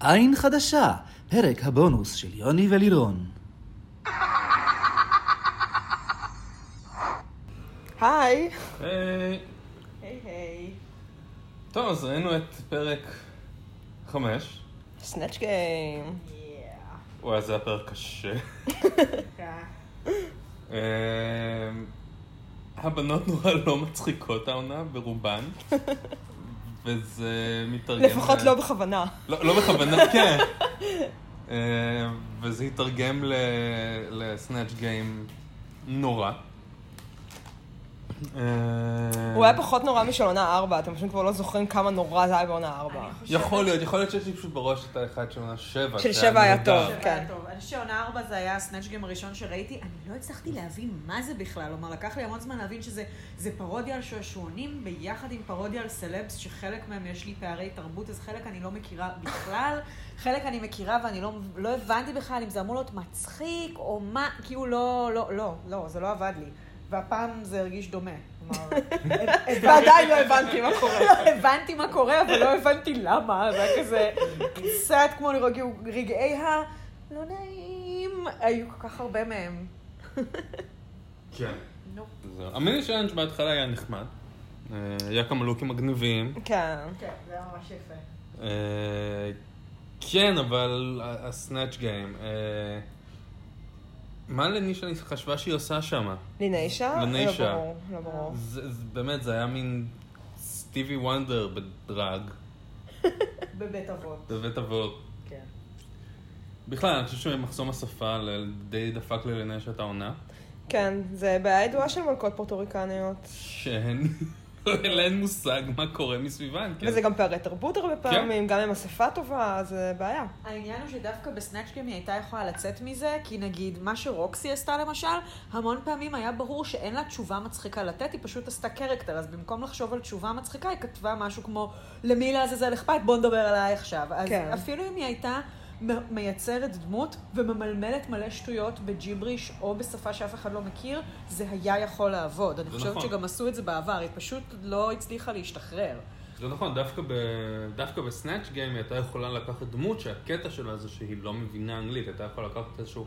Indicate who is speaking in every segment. Speaker 1: עין חדשה, פרק הבונוס של יוני ולירון.
Speaker 2: היי.
Speaker 3: היי.
Speaker 2: היי היי.
Speaker 3: אה, טוב, אז ראינו את פרק חמש.
Speaker 2: סנאצ' גיים.
Speaker 3: וואי, זה היה פרק קשה. אמ, הבנות נורא לא מצחיקות העונה, ברובן. וזה מתרגם...
Speaker 2: לפחות
Speaker 3: ל-
Speaker 2: לא בכוונה.
Speaker 3: לא לא בכוונה, כן. אמ, וזה התרגם ל- לסנאצ' גיים נורא. אמ,
Speaker 2: הוא היה פחות נורא משל עונה 4, אתם פשוט כבר לא זוכרים כמה נורא זה היה בעונה 4.
Speaker 3: יכול להיות, יכול להיות שיש לי פשוט בראש את האחד של עונה שבע.
Speaker 2: של
Speaker 3: שהיה
Speaker 2: שבע היה
Speaker 3: נהדר.
Speaker 2: טוב.
Speaker 4: כן. טוב, אני חושבת שעונה ארבע זה היה הסנאצ' גיים הראשון שראיתי, אני לא הצלחתי להבין מה זה בכלל, כלומר לקח לי המון זמן להבין שזה זה פרודיה על שעשועונים ביחד עם פרודיה על סלבס, שחלק מהם יש לי פערי תרבות, אז חלק אני לא מכירה בכלל, חלק אני מכירה ואני לא, לא הבנתי בכלל אם זה אמור להיות מצחיק או מה, כאילו לא, לא, לא, לא, זה לא עבד לי. והפעם זה הרגיש דומה. כלומר,
Speaker 2: ועדיין לא הבנתי מה קורה.
Speaker 4: הבנתי מה קורה, אבל לא הבנתי למה, זה היה כזה קצת כמו לרגעי- רגעי ה... לא נעים, היו כל כך הרבה מהם.
Speaker 3: כן.
Speaker 4: נו.
Speaker 3: זהו. המיני שלנו בהתחלה היה נחמד. אה, היה כמה לוקים מגניבים.
Speaker 2: כן.
Speaker 4: כן, זה היה ממש יפה.
Speaker 3: אה, כן, אבל ה- הסנאצ' גיים. אה, מה לנישה חשבה שהיא עושה שם?
Speaker 2: לינישה?
Speaker 3: לינישה.
Speaker 2: לא ברור, לא ברור.
Speaker 4: אה.
Speaker 3: זה זה- באמת, זה היה מין סטיבי וונדר בדרג,
Speaker 4: בבית אבות.
Speaker 3: בבית אבות.
Speaker 4: כן.
Speaker 3: בכלל, אני חושב שמחסום השפה ל- די דפק ללנישה את העונה.
Speaker 2: כן, זה בעיה ידועה של מלכות פורטוריקניות.
Speaker 3: שהן... אין מושג מה קורה מסביבן. כן.
Speaker 2: וזה גם פערי תרבות הרבה פעמים, גם עם השפה טובה, זה בעיה.
Speaker 4: העניין הוא שדווקא בסנאצ' גיים היא הייתה יכולה לצאת מזה, כי נגיד, מה שרוקסי עשתה למשל, המון פעמים היה ברור שאין לה תשובה מצחיקה לתת, היא פשוט עשתה קרקטר, אז במקום לחשוב על תשובה מצחיקה, היא כתבה משהו כמו, למי לעזאזל אכפת, בוא נדבר עליי עכשיו. אז
Speaker 2: כן.
Speaker 4: אפילו אם היא הייתה מ- מייצרת דמות וממלמלת מלא שטויות בג'יבריש או בשפה שאף אחד לא מכיר, זה היה יכול לעבוד. אני
Speaker 3: זה
Speaker 4: חושבת
Speaker 3: נכון.
Speaker 4: שגם עשו את זה בעבר, היא פשוט לא הצליחה להשתחרר.
Speaker 3: זה נכון, דווקא, ב... דווקא בסנאצ' גיים היא הייתה יכולה לקחת דמות שהקטע שלה זה שהיא לא מבינה אנגלית, הייתה יכולה לקחת איזשהו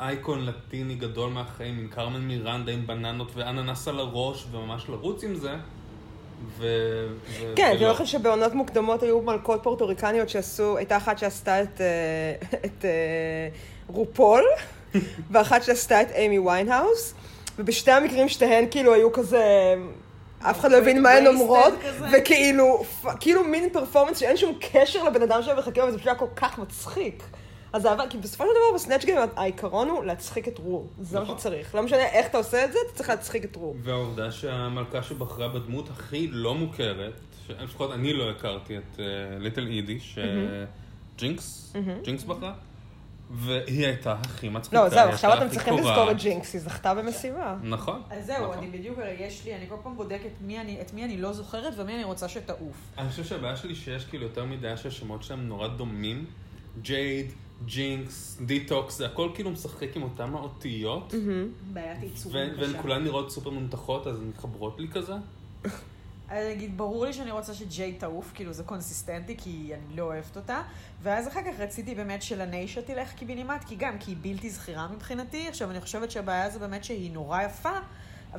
Speaker 3: אייקון לטיני גדול מהחיים עם קרמן מירנדה עם בננות ואננס על הראש וממש לרוץ עם זה. ו... ו...
Speaker 2: כן,
Speaker 3: ולא.
Speaker 2: תראו לכם שבעונות מוקדמות היו מלכות פורטוריקניות שעשו, הייתה אחת שעשתה את, אה, את אה, רופול, ואחת שעשתה את אימי ויינהאוס, ובשתי המקרים שתיהן כאילו היו כזה... אף אחד לא הבין מה הן
Speaker 4: Wasted
Speaker 2: אומרות,
Speaker 4: כזה.
Speaker 2: וכאילו, פ- כאילו מין פרפורמנס שאין שום קשר לבן אדם שלה וחכה, וזה פשוט היה כל כך מצחיק. אז זה עבד, כי בסופו של דבר בסנאצ' גיים העיקרון הוא להצחיק את רו, זה מה
Speaker 3: נכון.
Speaker 2: שצריך. לא משנה איך אתה עושה את זה, אתה צריך להצחיק את רו.
Speaker 3: והעובדה שהמלכה שבחרה בדמות הכי לא מוכרת, ש- לפחות אני לא הכרתי את ליטל אידי, שג'ינקס, ג'ינקס אה, בחרה, והיא הייתה הכי מצחיקה,
Speaker 2: לא, זהו,
Speaker 3: היא
Speaker 2: עכשיו
Speaker 3: הייתה
Speaker 2: אתם
Speaker 3: הכי
Speaker 2: צריכים
Speaker 3: קורעת.
Speaker 2: לזכור את ג'ינקס, היא זכתה במשימה.
Speaker 3: נכון.
Speaker 4: אז זהו,
Speaker 3: נכון.
Speaker 4: אני בדיוק, יש לי, אני כל פעם בודקת מי אני- את מי אני לא זוכרת ומי אני רוצה שתעוף.
Speaker 3: אני חושב שהבעיה שלי שיש כאילו יותר מדי שהשמות שלהם נורא דומים. ג'ייד, ג'ינקס, דיטוקס, זה הכל כאילו משחק עם אותם האותיות,
Speaker 2: Mm-hmm.
Speaker 4: בעיית ייצור
Speaker 3: והן והן כולן נראות סופר מומתחות, אז הן מתחברות לי כזה.
Speaker 4: אני אגיד, ברור לי שאני רוצה שג'יי תעוף, כאילו זה קונסיסטנטי, כי אני לא אוהבת אותה. ואז אחר כך רציתי באמת שלניישה תלך קיבינימט, כי גם, כי היא בלתי זכירה מבחינתי. עכשיו, אני חושבת שהבעיה זה באמת שהיא נורא יפה,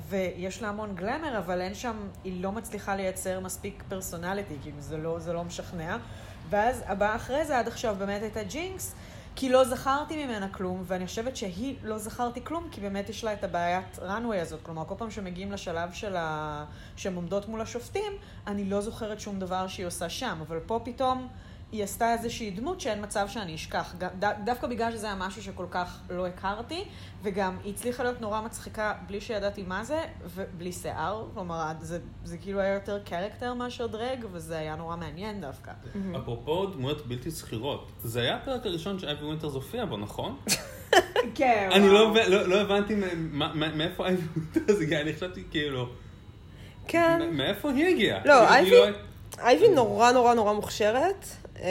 Speaker 4: ויש לה המון גלמר, אבל אין שם, היא לא מצליחה לייצר מספיק פרסונליטי, כאילו זה לא, זה לא משכנע. ואז הבאה אחרי זה עד עכשיו באמת הייתה ג'ינקס. כי לא זכרתי ממנה כלום, ואני חושבת שהיא לא זכרתי כלום, כי באמת יש לה את הבעיית runway הזאת. כלומר, כל פעם שמגיעים לשלב של ה... שהם עומדות מול השופטים, אני לא זוכרת שום דבר שהיא עושה שם. אבל פה פתאום היא עשתה איזושהי דמות שאין מצב שאני אשכח. ד... ד... דווקא בגלל שזה היה משהו שכל כך לא הכרתי, וגם היא הצליחה להיות נורא מצחיקה בלי שידעתי מה זה, ובלי שיער. כלומר, זה, זה כאילו היה יותר קרקטר מאשר דרג, וזה היה נורא מעניין דווקא.
Speaker 3: אפרופו דמויות בלתי שכירות, זה היה הפרק הראשון שאייבי ווינטרס הופיע בו, נכון?
Speaker 4: כן.
Speaker 3: אני לא הב- לא- לא הבנתי מ- מה- מה- מאיפה אייבי ווינטרס הגיע, אני חשבתי כאילו,
Speaker 2: כן.
Speaker 3: מ- מאיפה היא הגיעה?
Speaker 2: לא,
Speaker 3: היא- היא
Speaker 2: אייבי-
Speaker 3: לא-
Speaker 2: אייבי נורא נורא נורא מוכשרת, אה,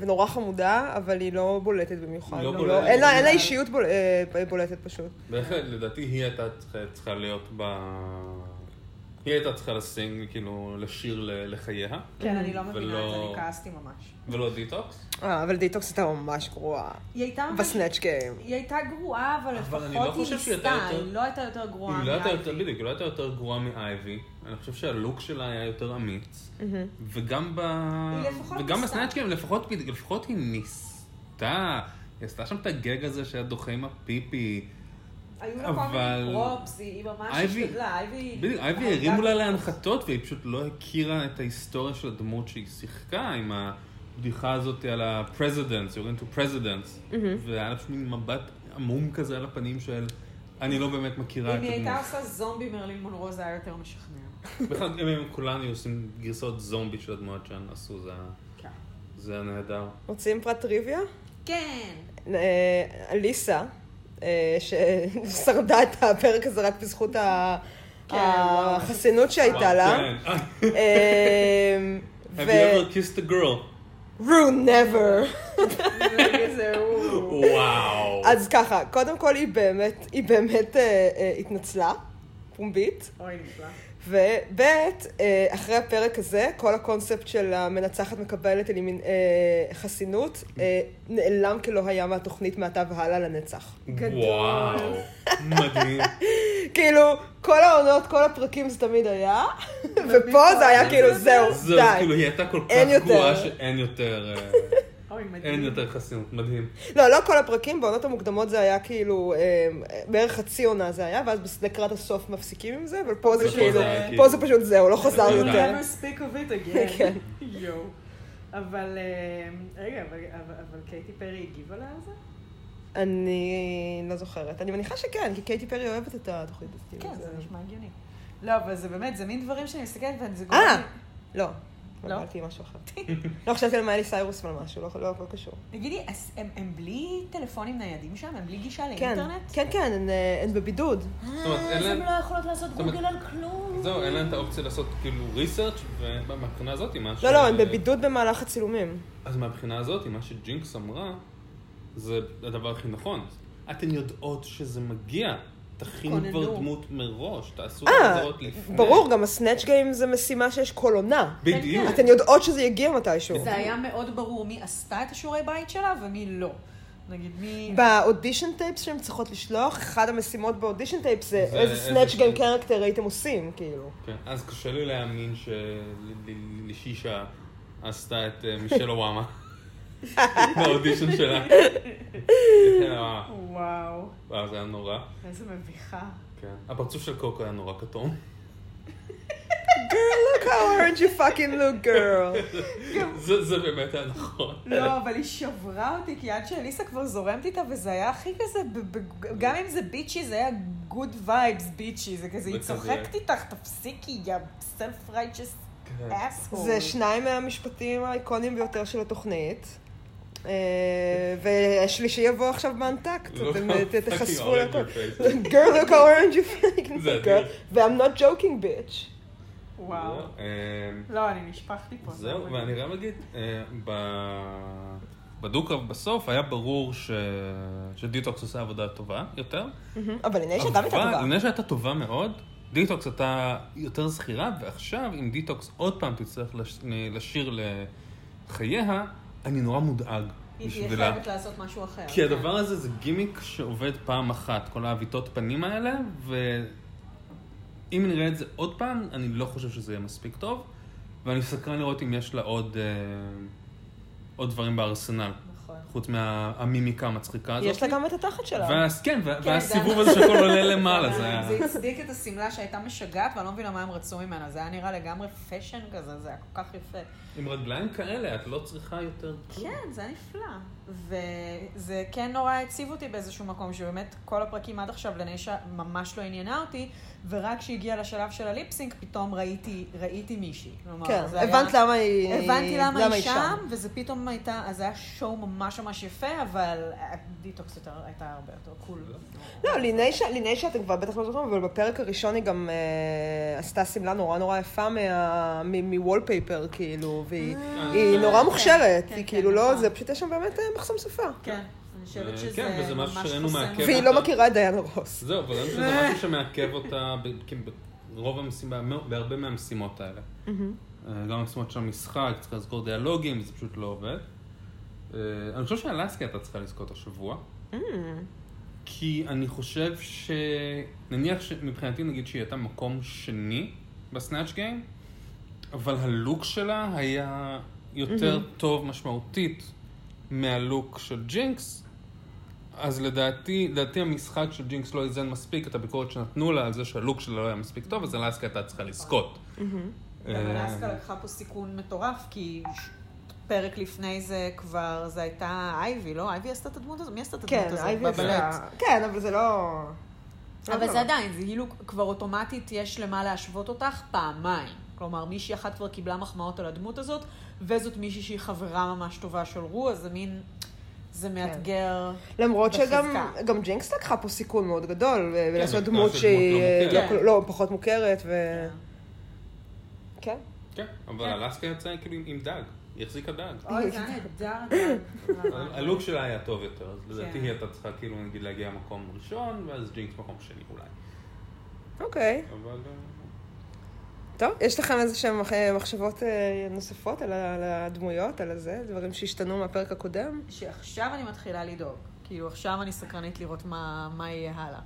Speaker 2: ונורא חמודה, אבל היא לא בולטת במיוחד.
Speaker 3: היא לא
Speaker 2: לא-
Speaker 3: בולטת.
Speaker 2: אין לה אין לה אישיות בול- אה, בולטת פשוט.
Speaker 3: בהחלט, לדעתי היא הייתה צריכה- צריכה להיות ב... היא הייתה צריכה לסינג, כאילו, לשיר ל- לחייה,
Speaker 4: כן, אני לא מבינה את זה,
Speaker 3: ולא-
Speaker 4: אני כעסתי ממש.
Speaker 3: ולא דיטוקס.
Speaker 2: אה, אבל דיטוקס הייתה ממש גרועה.
Speaker 4: היא הייתה ממש...
Speaker 2: בסנאצ' גיים.
Speaker 4: היא הייתה גרועה, אבל
Speaker 3: אבל אני
Speaker 4: לפחות
Speaker 3: לא
Speaker 4: היא
Speaker 3: חושב שהיא הייתה
Speaker 4: ניסתה,
Speaker 3: יותר-
Speaker 4: היא לא הייתה יותר גרועה
Speaker 3: היא לא הייתה
Speaker 4: מאייבי.
Speaker 3: יותר, בדיוק, היא לא הייתה יותר גרועה מאייבי. אני חושב שהלוק שלה היה יותר אמיץ. וגם ב...
Speaker 4: היא לפחות
Speaker 3: וגם
Speaker 4: ניסתה.
Speaker 3: בסנאצ'קים, לפחות, בדיוק, לפחות היא ניסתה. היא עשתה שם את הגג הזה שהיה דוחה עם הפיפי.
Speaker 4: היו לה כל
Speaker 3: אבל-
Speaker 4: מיני פרופס, היא היא ממש
Speaker 3: אייבי-
Speaker 4: השתדלה, אייבי...
Speaker 3: בדיוק, אייבי
Speaker 4: הרגה-
Speaker 3: הרימו לה להנחתות, והיא פשוט לא הכירה את ההיסטוריה של הדמות שהיא שיחקה עם הבדיחה הזאת על ה-presidents, you're into presidents. והיה לה פשוט מין מבט עמום כזה על הפנים של, אני לא באמת מכירה
Speaker 4: אם
Speaker 3: את
Speaker 4: היא
Speaker 3: הדמות.
Speaker 4: הייתה עושה זומבי מרלין מונרו זה היה יותר משכנע.
Speaker 3: בכלל, אם הם כולנו עושים גרסאות זומבי של הדמויות שהם עשו, זה,
Speaker 4: כן.
Speaker 3: זה היה נהדר.
Speaker 2: רוצים פרט טריוויה?
Speaker 4: כן.
Speaker 2: אה, אליסה, אה, ששרדה את הפרק הזה רק בזכות ה-
Speaker 4: כן, וואו.
Speaker 2: החסינות שהייתה לה.
Speaker 3: כן.
Speaker 2: אה,
Speaker 3: Have
Speaker 2: ו...
Speaker 3: you ever kissed a girl?
Speaker 2: רו נבר.
Speaker 4: זה הוא.
Speaker 3: וואו.
Speaker 2: אז ככה, קודם כל היא באמת, היא באמת אה, אה, התנצלה, פומבית.
Speaker 4: אוי, נפלא.
Speaker 2: וב' אה, אחרי הפרק הזה, כל הקונספט של המנצחת מקבלת אלימין, אה, חסינות אה, נעלם כלא היה מהתוכנית מעתה והלאה לנצח.
Speaker 4: גדול.
Speaker 3: וואו. מדהים.
Speaker 2: כאילו, כל העונות, כל הפרקים זה תמיד היה, ופה זה היה כאילו, זהו,
Speaker 3: זהו, כאילו,
Speaker 2: די.
Speaker 3: היא הייתה כל
Speaker 2: אין
Speaker 3: כך
Speaker 2: יותר.
Speaker 3: גרועה שאין יותר, אה,
Speaker 4: אוי, מדהים.
Speaker 3: אין יותר חסינות. מדהים.
Speaker 2: לא, לא כל הפרקים, בעונות המוקדמות זה היה כאילו, אה, בערך חצי עונה זה היה, ואז בס- לקראת הסוף מפסיקים עם זה, אבל פה זה
Speaker 3: ופה זה
Speaker 2: כאילו,
Speaker 3: היה כאילו-
Speaker 2: פה זה פשוט זהו, לא חזר
Speaker 3: זה כאילו-
Speaker 4: We'll
Speaker 2: יותר.
Speaker 4: never speak of it again.
Speaker 2: כן.
Speaker 4: יואו. אבל, אמ, רגע, אבל- אבל אבל קייטי פרי הגיבה לה על זה?
Speaker 2: אני לא זוכרת. אני מניחה שכן, כי קייטי פרי אוהבת את התוכנית הזאת. אה,
Speaker 4: כן,
Speaker 2: אז-
Speaker 4: זה נשמע הגיוני. לא, אבל זה באמת, זה מין דברים שאני מסתכלת ואני זה גורם
Speaker 2: אה,
Speaker 4: לי-
Speaker 2: לא.
Speaker 4: לא?
Speaker 2: אמרתי משהו אחר. לא חשבתי על מאלי סיירוס ועל משהו, לא- לא לא קשור.
Speaker 4: תגידי, אז הם- הם בלי טלפונים ניידים שם? הם בלי גישה
Speaker 2: כן,
Speaker 4: לאינטרנט?
Speaker 2: כן, כן, הן, אה, הן בבידוד.
Speaker 3: זאת אומרת, אין
Speaker 4: אז
Speaker 3: להם...
Speaker 4: הם לא יכולות לעשות
Speaker 3: אומרת-
Speaker 4: גוגל על כלום.
Speaker 3: זהו, אין להם את האופציה לעשות כאילו research, ומהבחינה הזאת, מה ש...
Speaker 2: לא, לא, הן בבידוד במהלך הצילומים.
Speaker 3: אז מהבחינה הזאת, מה שג'ינקס אמרה, זה הדבר הכי נכון. אתן יודעות שזה מגיע. תכינו
Speaker 4: כוננו.
Speaker 3: כבר דמות מראש, תעשו את
Speaker 2: אה,
Speaker 3: הגזרות לפני.
Speaker 2: ברור, גם הסנאצ' גיים זה משימה שיש כל עונה.
Speaker 3: בדיוק.
Speaker 4: כן,
Speaker 2: אתן יודעות שזה יגיע מתישהו.
Speaker 4: זה היה מאוד ברור מי עשתה את השיעורי בית שלה ומי לא. נגיד, מי...
Speaker 2: באודישן טייפס שהן צריכות לשלוח, אחת המשימות באודישן טייפס זה
Speaker 3: זה
Speaker 2: איזה
Speaker 3: איזה
Speaker 2: סנאצ' גיים
Speaker 3: סנאצ'.
Speaker 2: קרקטר הייתם עושים, כאילו.
Speaker 3: כן, אז קשה לי להאמין שלשישה עשתה את אה, מישל אובמה באודישן שלה. אה,
Speaker 4: וואו,
Speaker 3: וואו, זה היה נורא.
Speaker 4: איזה מביכה.
Speaker 3: כן. הפרצוף של קוקו היה נורא כתום.
Speaker 2: Look how orange you fucking look girl.
Speaker 3: זה זה באמת היה נכון.
Speaker 4: לא, אבל היא שברה אותי, כי עד שאליסה כבר זורמת איתה, וזה היה הכי כזה, ב- ב- גם אם זה ביצ'י, זה היה גוד וייבס ביצ'י, זה כזה, היא
Speaker 3: וכזה-
Speaker 4: צוחקת איתך, תפסיקי, יא סלף רייצ'ס
Speaker 3: כן.
Speaker 4: אסהול.
Speaker 2: זה שניים מהמשפטים האיקונים ביותר של התוכנית. אה, והשלישי יבוא עכשיו באנטקט,
Speaker 3: לא,
Speaker 2: אתם אה,
Speaker 3: fucking
Speaker 2: ת- תחשפו
Speaker 3: orange
Speaker 2: לכל.
Speaker 3: your face.
Speaker 2: Girl, look how orange you fucking
Speaker 3: זה Mm-hmm.
Speaker 2: look
Speaker 3: אדיר.
Speaker 2: girl. ו-I'm not joking bitch.
Speaker 4: וואו. נכון.
Speaker 3: אה,
Speaker 4: לא, אני נשפכתי פה.
Speaker 3: זהו,
Speaker 4: אבל-
Speaker 3: ואני גם אגיד, אה, ב- בדו-קרב בסוף היה ברור ש- שדיטוקס עושה עבודה טובה יותר.
Speaker 2: מהמם. אבל הנה שאתה
Speaker 3: אבל
Speaker 2: מתערבה.
Speaker 3: לפני שהייתה טובה מאוד, דיטוקס הייתה יותר זכירה, ועכשיו אם דיטוקס עוד פעם תצטרך לש- לשיר לחייה, אני נורא מודאג
Speaker 4: היא תהיה
Speaker 3: בשבילה.
Speaker 4: חייבת לעשות משהו אחר.
Speaker 3: כי
Speaker 2: אוקיי.
Speaker 3: הדבר הזה זה גימיק שעובד פעם אחת, כל העוויתות פנים האלה, ואם נראה את זה עוד פעם, אני לא חושב שזה יהיה מספיק טוב, ואני סקרן לראות אם יש לה עוד, אה, עוד דברים בארסנל,
Speaker 4: נכון.
Speaker 3: חוץ מהמימיקה המצחיקה הזאת.
Speaker 2: יש לה גם את התחת שלה.
Speaker 3: ואז, כן, וה-
Speaker 4: כן,
Speaker 3: והסיבוב
Speaker 4: זה-
Speaker 3: הזה שהכל עולה למעלה, זה
Speaker 4: זה
Speaker 3: היה...
Speaker 4: הצדיק את השמלה שהייתה משגעת, ואני לא מבינה מה הם רצו ממנה. זה היה נראה לגמרי פאשן כזה, זה היה כל כך יפה.
Speaker 3: עם רגליים כאלה, את לא צריכה יותר... כלום.
Speaker 4: כן, זה היה נפלא. וזה כן נורא הציב אותי באיזשהו מקום, שבאמת כל הפרקים עד עכשיו לנישה ממש לא עניינה אותי, ורק כשהגיע לשלב של הליפסינק, פתאום ראיתי, ראיתי מישהי. כלומר,
Speaker 2: כן,
Speaker 4: זה היה-
Speaker 2: הבנת למה היא...
Speaker 4: הבנתי למה היא שם, וזה פתאום הייתה, אז זה היה שואו ממש ממש יפה, אבל הדיטוקס יותר- הייתה הרבה יותר קול.
Speaker 2: לא, ליני שאתם כבר בטח לא זוכרים, אבל בפרק הראשון היא גם אה, עשתה שמלה נורא נורא יפה מה- מ- מוולפייפר, כאילו, והיא
Speaker 3: אה,
Speaker 2: היא
Speaker 3: כן,
Speaker 2: נורא
Speaker 4: כן,
Speaker 2: מוכשרת,
Speaker 4: כן,
Speaker 2: היא
Speaker 4: כן,
Speaker 2: כאילו לא,
Speaker 4: נכון.
Speaker 2: זה פשוט יש שם באמת אה, מחסום שפה.
Speaker 4: כן, אני חושבת
Speaker 3: אה,
Speaker 4: שזה
Speaker 3: כן, וזה משהו
Speaker 4: ממש
Speaker 3: שראינו
Speaker 4: חוסם. לא-
Speaker 3: מהקטע. כן,
Speaker 2: והיא
Speaker 3: אבל-
Speaker 2: לא מכירה את דיאנה רוס.
Speaker 3: זהו, אבל אני חושב שזה משהו שמעכב אותה, ב- כי ב- רוב המשימה, בהרבה מהמשימות האלה. אה, גם המשימות של המשחק, צריך לזכור דיאלוגים, זה פשוט לא עובד. אה, אני חושב שאלסקי הייתה צריכה לזכות השבוע. כי אני חושב ש... נניח שמבחינתי נגיד שהיא הייתה מקום שני בסנאצ' גיים, אבל הלוק שלה היה יותר
Speaker 4: Mm-hmm.
Speaker 3: טוב משמעותית מהלוק של ג'ינקס. אז לדעתי, לדעתי המשחק של ג'ינקס לא איזן מספיק את הביקורת שנתנו לה על זה שהלוק שלה לא היה מספיק טוב, אז אלסקה הייתה צריכה לזכות.
Speaker 4: גם
Speaker 3: אה,
Speaker 4: אלסקה לקחה פה סיכון מטורף, כי ש- פרק לפני זה כבר, זה הייתה אייבי, לא? אייבי עשתה את הדמות הזאת? מי עשתה את הדמות
Speaker 2: כן,
Speaker 4: הזאת?
Speaker 2: אייבי
Speaker 4: בבלט.
Speaker 2: עשתה... כן, אבל זה לא...
Speaker 4: אבל זה עדיין, זה כאילו כבר אוטומטית יש למה להשוות אותך פעמיים. כלומר, מישהי אחת כבר קיבלה מחמאות על הדמות הזאת, וזאת מישהי שהיא חברה ממש טובה של רו, אז זה מין...
Speaker 2: כן.
Speaker 4: זה מאתגר.
Speaker 3: אה,
Speaker 2: למרות שגם
Speaker 4: בחזקה.
Speaker 2: גם ג'ינקס לקחה פה סיכון מאוד גדול, ו- ולעשות
Speaker 3: לקחה
Speaker 2: דמות
Speaker 3: כן, דמות
Speaker 2: שהיא
Speaker 3: לא
Speaker 2: לא-
Speaker 4: מוכרת.
Speaker 2: לא, פחות מוכרת, ו... כן.
Speaker 3: כן, אבל אלסקה יצאה כאילו עם- עם דג, היא החזיקה דג.
Speaker 4: אוי, זה היה נהדר.
Speaker 3: הלוק שלה היה טוב יותר, אז לדעתי
Speaker 4: נכון. כן.
Speaker 3: היא הייתה צריכה כאילו נגיד להגיע למקום ראשון, ואז ג'ינקס מקום שני אולי.
Speaker 2: אוקיי.
Speaker 3: אבל... אה,
Speaker 2: טוב, יש לכם איזה שהן מחשבות אה, נוספות על ה- על הדמויות, על הזה? דברים שהשתנו מהפרק הקודם?
Speaker 4: שעכשיו אני מתחילה לדאוג. כאילו, עכשיו אני סקרנית לראות מה, מה יהיה הלאה.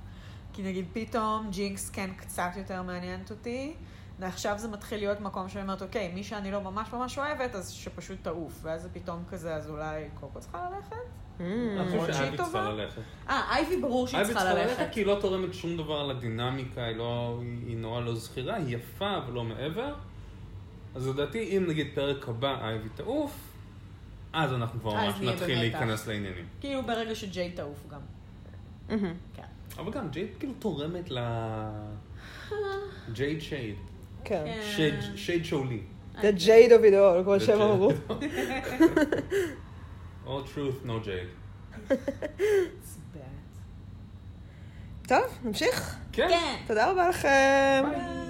Speaker 4: כי נגיד, פתאום ג'ינקס כן קצת יותר מעניינת אותי, ועכשיו זה מתחיל להיות מקום שאני אומרת, אוקיי, מי שאני לא ממש ממש אוהבת, אז שפשוט תעוף. ואז זה פתאום כזה, אז אולי קוקו צריכה ללכת?
Speaker 3: אני
Speaker 4: Mm, למרות
Speaker 3: חושב
Speaker 4: שהיא
Speaker 3: שאייבי צריכה
Speaker 4: טובה.
Speaker 3: ללכת.
Speaker 4: אה, אייבי ברור שהיא
Speaker 3: אייבי
Speaker 4: צריכה ללכת.
Speaker 3: כי היא לא תורמת שום דבר לדינמיקה, היא לא... היא נורא לא זכירה, היא יפה, אבל לא מעבר. אז לדעתי, אם נגיד פרק הבא אייבי תעוף, אז אנחנו כבר
Speaker 4: אז
Speaker 3: ממש
Speaker 4: נהיה
Speaker 3: נתחיל
Speaker 4: במתח.
Speaker 3: להיכנס לעניינים.
Speaker 4: כאילו, ברגע שג'יי תעוף גם.
Speaker 2: מהמם.
Speaker 4: כן.
Speaker 3: אבל גם ג'ייד כאילו תורמת ל... ג'ייד שייד.
Speaker 2: כן.
Speaker 4: כן.
Speaker 3: שייד- שייד שאולי.
Speaker 2: The Jade of it all, כמו
Speaker 3: The
Speaker 2: שהם
Speaker 3: Jade.
Speaker 2: אמרו.
Speaker 3: All truth, no jade.
Speaker 4: עצבן.
Speaker 2: טוב, נמשיך.
Speaker 3: כן.
Speaker 4: כן.
Speaker 2: תודה רבה לכם.
Speaker 3: ביי.